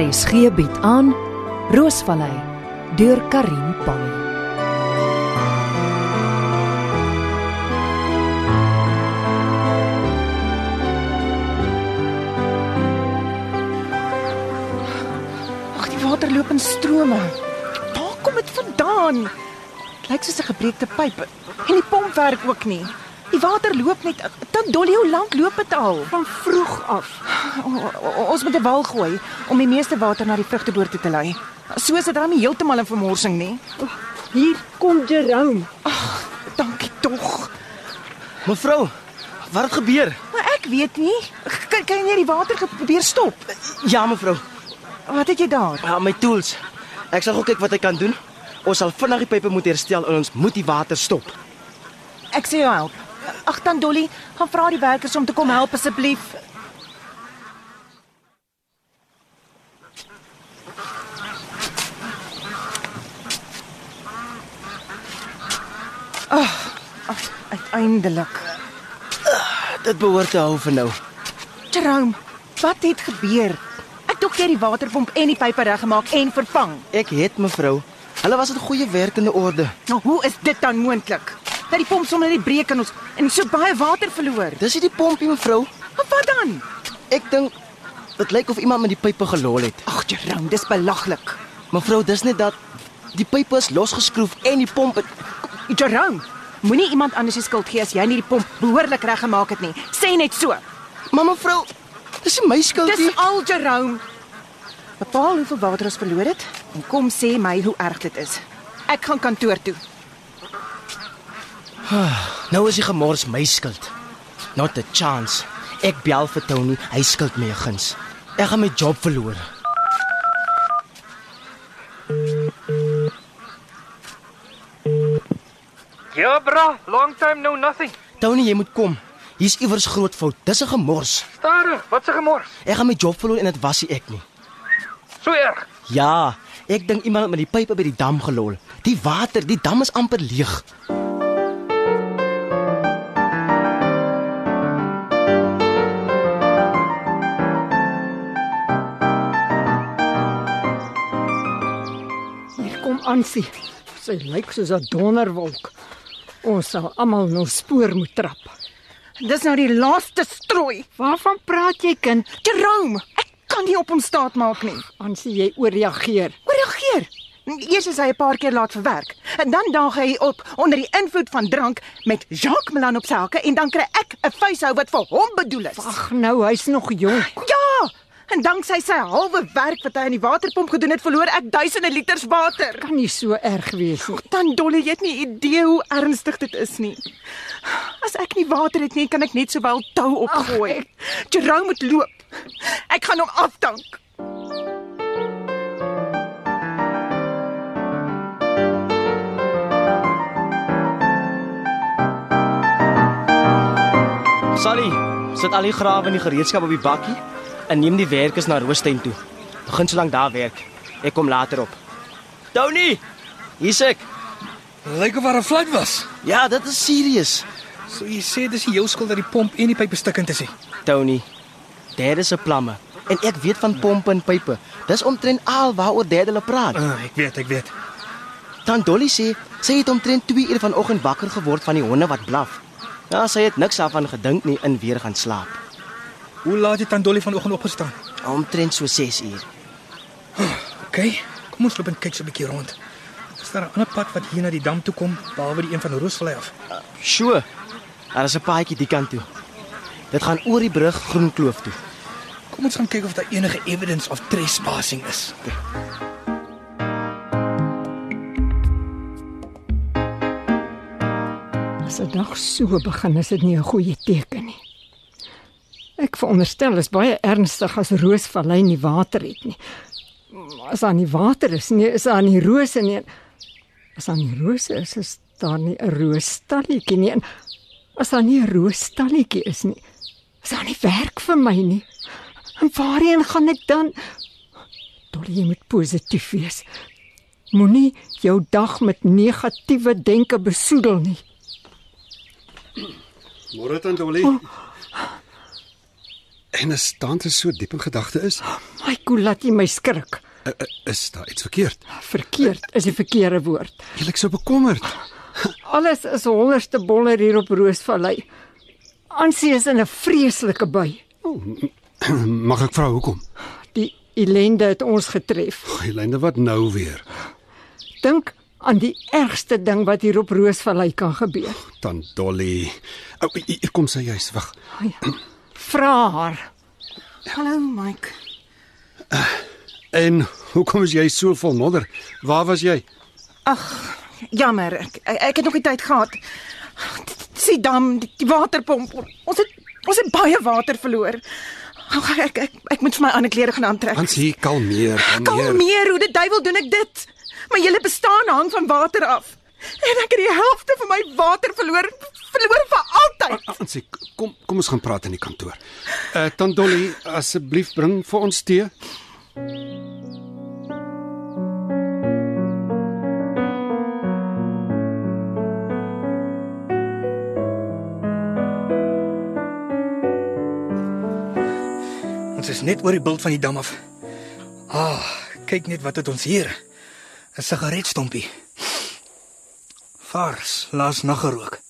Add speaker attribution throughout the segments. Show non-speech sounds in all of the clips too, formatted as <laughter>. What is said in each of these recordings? Speaker 1: RSG bied aan Roosvallei deur Karin Pan.
Speaker 2: Ag, die water loop in strome. Waar kom dit vandaan? Dit lyk soos 'n gebreekte pyp. En die pomp werk ook nie. Die water loop net. Tannie Dolly, hoe lank loop dit al?
Speaker 3: van vroeg af.
Speaker 2: O, o, ons moet 'n wal gooi om die meeste water na die vrugteboer toe te lei. So is dit dan nie heeltemal 'n vermorsing nie.
Speaker 3: Hier kom Jerome.
Speaker 2: Dankie tog.
Speaker 4: Mevrou, wat het gebeur?
Speaker 2: Maar ek weet nie. K- Kan kan jy nie die water probeer stop?
Speaker 4: Ja, mevrou,
Speaker 2: Wat het jy daar?
Speaker 4: uh, my tools. Ek sal gou kyk wat ek kan doen. Ons sal vinnig die pype moet herstel en ons moet die water stop.
Speaker 2: Ek sê jou help. Ag, Tannie Dolly, gaan vra die werkers om te kom help asseblief. Ag, ag, uiteindelik.
Speaker 4: Dit behoort te hou vir nou.
Speaker 2: Jerome, wat het gebeur? Ek dink jy het die waterpomp en die pype reggemaak en vervang.
Speaker 4: Ek het mevrou. Hulle was in goeie werkende orde.
Speaker 2: Nou hoe is dit dan moontlik? Dat die pomp sommer net breek en ons en so baie water verloor.
Speaker 4: Dis nie die pompie mevrou.
Speaker 2: Maar Wat dan?
Speaker 4: Ek dink dit lyk of iemand met die pype gelol het.
Speaker 2: Ag, Jerome, dis belaglik.
Speaker 4: Mevrou, dis net dat die pype is losgeskroef en die pomp het
Speaker 2: Jerome, moenie iemand anders se skuld gee as jy nie die pomp behoorlik reggemaak het nie. Sê net so.
Speaker 4: Maar mevrou, dis nie my skuld
Speaker 2: Dis
Speaker 4: nie.
Speaker 2: al Jerome. Bepaal hoeveel water ons verloor het en kom sê my hoe erg dit is. Ek gaan kantoor toe.
Speaker 4: Nou is die gemors my skuld. Not a chance. Ek bel vir Tony, hy skuld my 'n guns. Ek gaan my job verloor.
Speaker 5: Ja, bra, long time no nothing.
Speaker 4: Tony, jy moet kom. Hier's iewers groot fout. Dis 'n gemors.
Speaker 5: Stadig, wat se gemors?
Speaker 4: Ek gaan my job verloor en dit was nie ek nie.
Speaker 5: So erg.
Speaker 4: Ja, ek dink iemand het met die pype by die dam gelol. Die water, die dam is amper leeg.
Speaker 3: Hier kom Ansie. Sy lyk soos 'n donderwolk. Ons sal almal nou spoor moet trap.
Speaker 2: Dis nou die laaste strooi.
Speaker 3: Waarvan praat jy, kind?
Speaker 2: Jerome, ek kan nie op hom staat maak nie.
Speaker 3: Ansie, jy oorreageer.
Speaker 2: Oorreageer. Eers is hy 'n paar keer laat vir werk en dan daag hy op onder die invloed van drank met Jacques Milan op sy hakke en dan kry ek 'n vuishou wat vir hom bedoel is.
Speaker 3: Ag nou, hy's nog jonk.
Speaker 2: Ja! En danksy sy halwe werk wat hy aan die waterpomp gedoen het, verloor ek duisende liters water.
Speaker 3: Kan nie so erg wees nie.
Speaker 2: Dan dolle, jy het nie idee hoe ernstig dit is nie. As ek nie water het nie, kan ek net sowel tou opgooi.
Speaker 3: Ag,
Speaker 2: Jerome moet loop. Ek gaan hom afdank.
Speaker 4: Sally, sit al die grawe en die gereedskap op die bakkie en neem die werkers na Roostein toe. Begin solank daar werk. Ek kom later op. Tony, hier's ek.
Speaker 6: Lyk of daar 'n vloed was.
Speaker 4: Ja, dit is serieus.
Speaker 6: So jy sê dis nie jou skuld dat die pomp en die pype stukkend is nie.
Speaker 4: Tony, daar is 'n plamme en ek weet van pompe en pype. Dis omtrent al waaroor dad hulle praat.
Speaker 6: Uh, ek weet, ek weet.
Speaker 4: Dan Dolly sê sy het omtrent 2 uur vanoggend wakker geword van die honde wat blaf. Ja, sy het niks daarvan gedink nie en weer gaan slaap.
Speaker 6: Hoe laat het Tandolly vanoggend opgestaan?
Speaker 4: Omtrent so 6 uur.
Speaker 6: OK, kom ons loop en kyk so 'n bietjie rond. Is daar 'n ander pad wat hier na die dam toe kom, behalwe die een van Roosvallei af?
Speaker 4: Sjoe. Daar is 'n paadjie die kant toe. Dit gaan oor die brug Groenkloof toe.
Speaker 6: Kom ons gaan kyk of daar enige evidence of trespassing is.
Speaker 3: As 'n dag so begin, is dit nie 'n goeie teken nie. Ek veronderstel is baie ernstig as Roosvallei nie water het nie. Maar As daar nie water is nie, is daar nie rose nie. As daar nie rose is, is daar nie 'n roosstalletjie nie. En as daar nie 'n roosstalletjie is nie, is daar nie werk vir my nie. En waarheen gaan ek dan? Dolly, jy moet positief wees. Moenie jou dag met negatiewe denke besoedel nie.
Speaker 7: Môre dan Dolly. En as tante so diep in gedagte is,
Speaker 3: My Aiko, laat jy my skrik.
Speaker 7: I- I- Is daar iets verkeerd?
Speaker 3: Verkeerd is die verkeerde woord.
Speaker 7: Jy lyk so bekommerd. <clears throat>
Speaker 3: Alles is honderdste boller hier op Roosvallei. Ansie is in 'n vreeslike bui.
Speaker 7: Mag ek vra hoekom?
Speaker 3: Die ellende het ons getref.
Speaker 7: Gelyne, wat nou weer?
Speaker 3: Dink aan die ergste ding wat hier op Roosvallei kan gebeur.
Speaker 7: Tant Dolly. Ou, oh, hier kom sy juis. Wag.
Speaker 3: Vra haar. Hallo Mike.
Speaker 7: En hoekom is jy so vol modder? Waar was jy?
Speaker 2: Jammer, ek ek het nog nie tyd gehad. Sien dam, die, die waterpomp. Ons het ons het baie water verloor. Ag ek ek ek moet vir my ander klere gaan aantrek.
Speaker 7: Hansie, kalmeer, kalmeer.
Speaker 2: Kalmeer, hoe die duiwel doen ek dit? My hele bestaan hang van water af. En ek het die helfte van my water verloor, verloor vir altyd.
Speaker 7: Hansie, kom kom ons gaan praat in die kantoor. Eh uh, Tant Dolly, asseblief bring vir ons tee.
Speaker 6: Ons is net oor die bult van die dam af. Ah, kyk net wat het ons hier. 'n Sigaretstompies. Vars, laas nog gerook.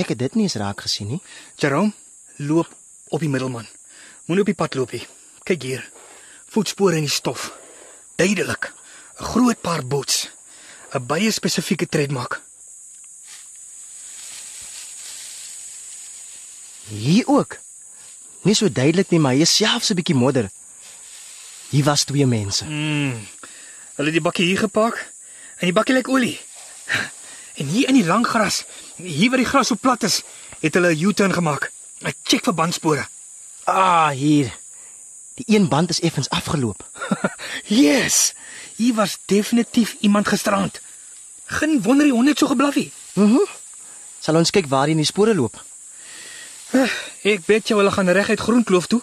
Speaker 4: Ek het dit nie eens raak gesien nie.
Speaker 6: Jerome, loop op die middelman. Moenie op die pad loop nie. Kyk hier. Voetspore in die stof. Duidelik. 'n Groot paar bots. 'n Baie spesifieke tred maak.
Speaker 4: Hier ook. Nie so duidelik nie, maar hier is selfs 'n bietjie modder. Hier was twee mense.
Speaker 6: Hulle het die bakkie hier gepak en die bakkie lyk olie. <laughs> En hier in die lang gras, hier waar die gras so plat is, het hulle 'n U-turn gemaak. Ek check vir bandspore. <laughs>
Speaker 4: Ah, hier. Die een band is effens afgeloop.
Speaker 6: yes. Hier was definitief iemand gisterand. Geen wonder die hond het so geblaffie.
Speaker 4: Sal ons kyk waar hy in die spore loop.
Speaker 6: Ek weet jy hulle gaan reguit Groenkloof toe.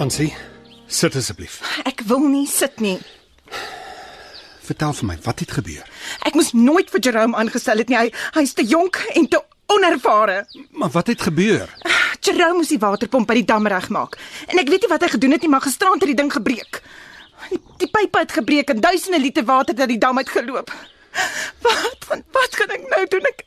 Speaker 7: Hansie, sit asseblief.
Speaker 2: Ek wil nie sit nie.
Speaker 7: Vertel vir my, wat het gebeur?
Speaker 2: Ek moes nooit vir Jerome aangestel het nie. Hy hy's te jonk en te onervare.
Speaker 7: Maar wat het gebeur?
Speaker 2: Jerome moes die waterpomp by die dam regmaak. En ek weet nie wat hy gedoen het nie, maar gisterand het die ding gebreek. Die, die pype het gebreek en duisende liter water uit die dam uitgeloop. Wat wat wat gaan ek nou doen? Ek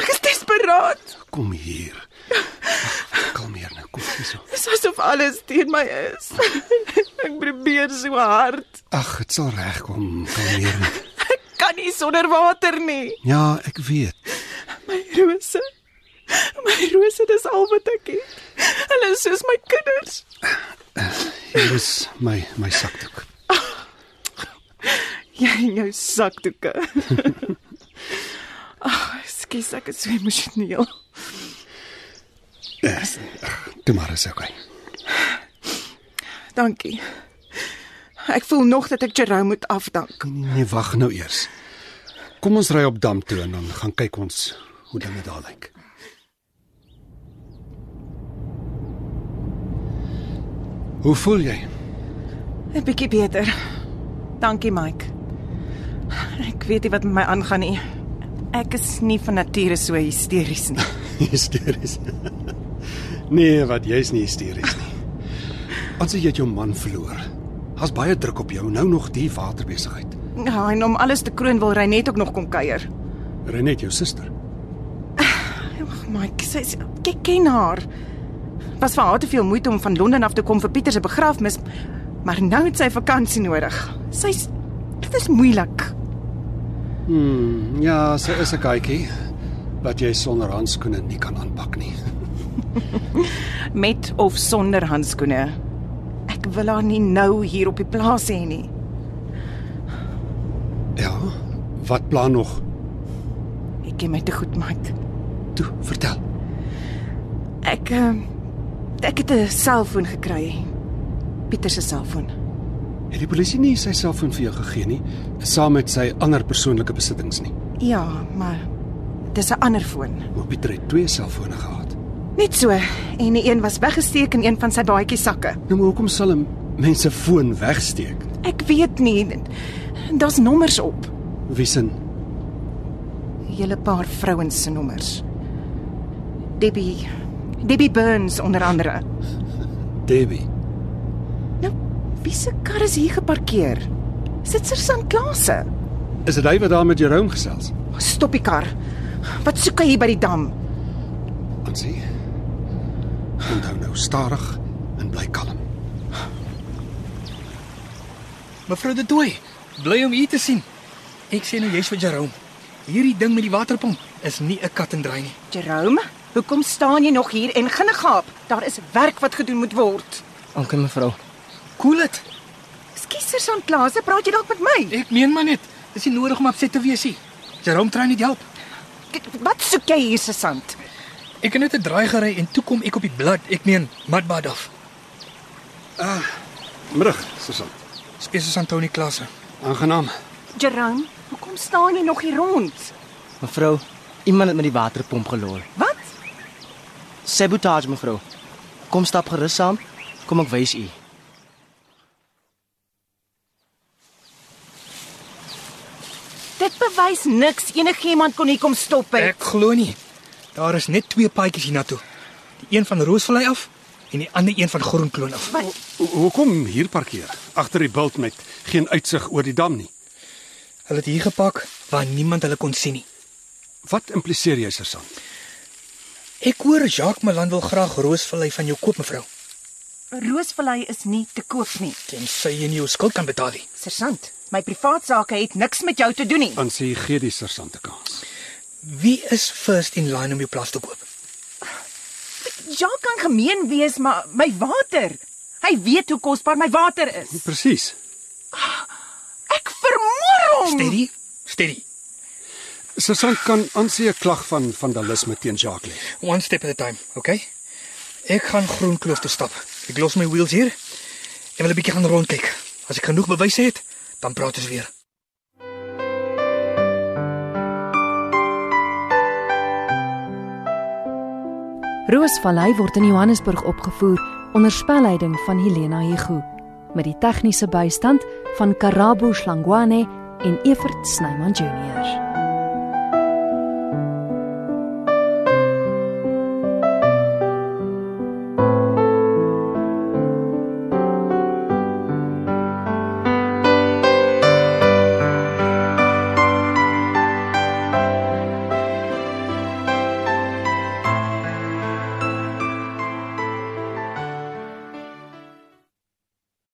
Speaker 2: ek is desperaat.
Speaker 7: Kom hier. Wag, Kalmeer nou, kom hierso.
Speaker 2: Dit is asof alles teen my is. <laughs> Ek probeer so hard.
Speaker 7: Ag, dit sal regkom, kalmeer. nou.
Speaker 2: Ek kan nie sonder water nie.
Speaker 7: Ja, ek weet.
Speaker 2: My rose. My rose, dis al wat ek het. Hulle is soos my kinders.
Speaker 7: Hier is my my sakdoek.
Speaker 2: Jy en jou sakdoeke. Ag, skus ek is so emosioneel.
Speaker 7: Toe maar is okay.
Speaker 2: Dankie. Ek voel nog dat ek Jerome moet afdank.
Speaker 7: Nee, nee, wag nou eers. Kom ons ry op dam toe en dan gaan kyk ons hoe dinge daar lyk. Hoe voel jy?
Speaker 2: 'n Bietjie beter. Dankie, Mike. Ek weet nie wat met my aangaan nie. Ek is nie van nature so hysteries nie.
Speaker 7: Hysteries. nee, wat jy's nie hysteries nie. Ons het jy het jou man verloor. Daar's baie druk op jou, nou nog die waterbesigheid.
Speaker 2: Ja, en om alles te kroon wil Reinet ook nog kom kuier.
Speaker 7: Renet jou suster.
Speaker 2: Ag, Mike, sy sy- kyk ken haar. Was vir haar te veel moeite om van Londen af te kom vir Pieter se begrafnis, maar nou het sy vakansie nodig. Sy's dit is moeilik.
Speaker 7: Hmm, ja, sy is 'n katjie wat jy sonder handskoene nie kan aanpak nie.
Speaker 2: met of sonder handskoene. Ek wil haar nie nou hier op die plaas hê nie.
Speaker 7: Ja, wat plan nog?
Speaker 2: Ek ken my te goed, Mike.
Speaker 7: Toe, vertel.
Speaker 2: Ek eh, ek het 'n selfoon gekry. Pieter se selfoon.
Speaker 7: Het die polisie nie sy selfoon vir jou gegee nie, saam met sy ander persoonlike besittings nie.
Speaker 2: Ja, maar dis 'n ander foon.
Speaker 7: Maar Pieter het twee selfone gehad.
Speaker 2: Net so, en die een was weggesteek in een van sy baadjie sakke.
Speaker 7: Nou maar hoekom sal 'n mens 'n foon wegsteek?
Speaker 2: Ek weet nie. Daar's nommers op.
Speaker 7: Wie sin?
Speaker 2: Hele paar vrouens se nommers. Debbie Debbie Burns onder andere.
Speaker 7: Debbie.
Speaker 2: Nou, wie se kar is hier geparkeer? Sit Sir Sanklase.
Speaker 7: Is dit hy wat daar met Jerome gesels?
Speaker 2: Stop die kar. Wat soek hy hier by die dam?
Speaker 7: Ansie. Onthou nou stadig en bly kalm.
Speaker 6: Mevrou De Tooy, bly om u te sien. Ek sê nou jy's vir Jerome. Hierdie ding met die waterpomp is nie 'n kat en draai nie.
Speaker 2: Jerome, hoekom staan jy nog hier en ginnegaap? Daar is werk wat gedoen moet word.
Speaker 4: Dankie mevrou.
Speaker 6: Koel dit.
Speaker 2: Ekskuus Sir Sanklase, praat jy dalk met my?
Speaker 6: Ek meen maar net, dis nie nodig om opset te wees nie. Jerome trou nie te help.
Speaker 2: K- Wat soek jy hier se sand?
Speaker 6: Ek het net 'n draai gery en toe kom ek op die blad. Ek meen, Madbad af.
Speaker 7: Middag, Susan.
Speaker 6: Spesies aan Tony Klasse.
Speaker 7: Aangenaam.
Speaker 2: Jerome, hoekom staan jy nog hier rond?
Speaker 4: Mevrou, iemand het met die waterpomp geloer.
Speaker 2: Wat?
Speaker 4: Sabotage mevrou. Kom stap gerus saam. Kom ek wys u.
Speaker 2: Dit bewys niks. Enigiemand kon hier kom stop het.
Speaker 6: Ek glo nie. Daar is net twee paadjies hiernatoe. Die een van Roosvallei af en die ander een van Groenkloon af.
Speaker 7: Ho- Hoekom hier parkeer? Agter die bult met geen uitsig oor die dam nie.
Speaker 6: Hulle het hier gepak waar niemand hulle kon sien nie.
Speaker 7: Wat impliseer jy, Susan?
Speaker 6: Ek hoor Jacques Malan wil graag Roosvallei van jou koop mevrou.
Speaker 2: Roosvallei is nie te koop nie.
Speaker 6: Tensy jy nie jou skuld kan betaal nie.
Speaker 2: Sersant, my privaat sake het niks met jou te doen nie.
Speaker 7: Ansie gee die sergeant 'n kans.
Speaker 6: Wie is first in line om jou plaas te koop?
Speaker 2: Jacques Ja, kan gemeen wees, maar my water. Hy weet hoe kosbaar my water is.
Speaker 7: Presies.
Speaker 2: Ek vermoor hom.
Speaker 6: Steady? Steady.
Speaker 7: Sergeant kan Ansie 'n klag van vandalisme teen Jacques lê.
Speaker 6: One step at a time, okay? Ek gaan Groenkloof toe stap. Ek los my wheels hier en wil 'n bietjie gaan rondkyk. As ek genoeg bewys het, dan praat ons weer.
Speaker 1: Roosvallei word in Johannesburg opgevoer onder spelleiding van Helena Hugo met die tegniese bystand van Karabo Slangwane en Evert Snyman Junior.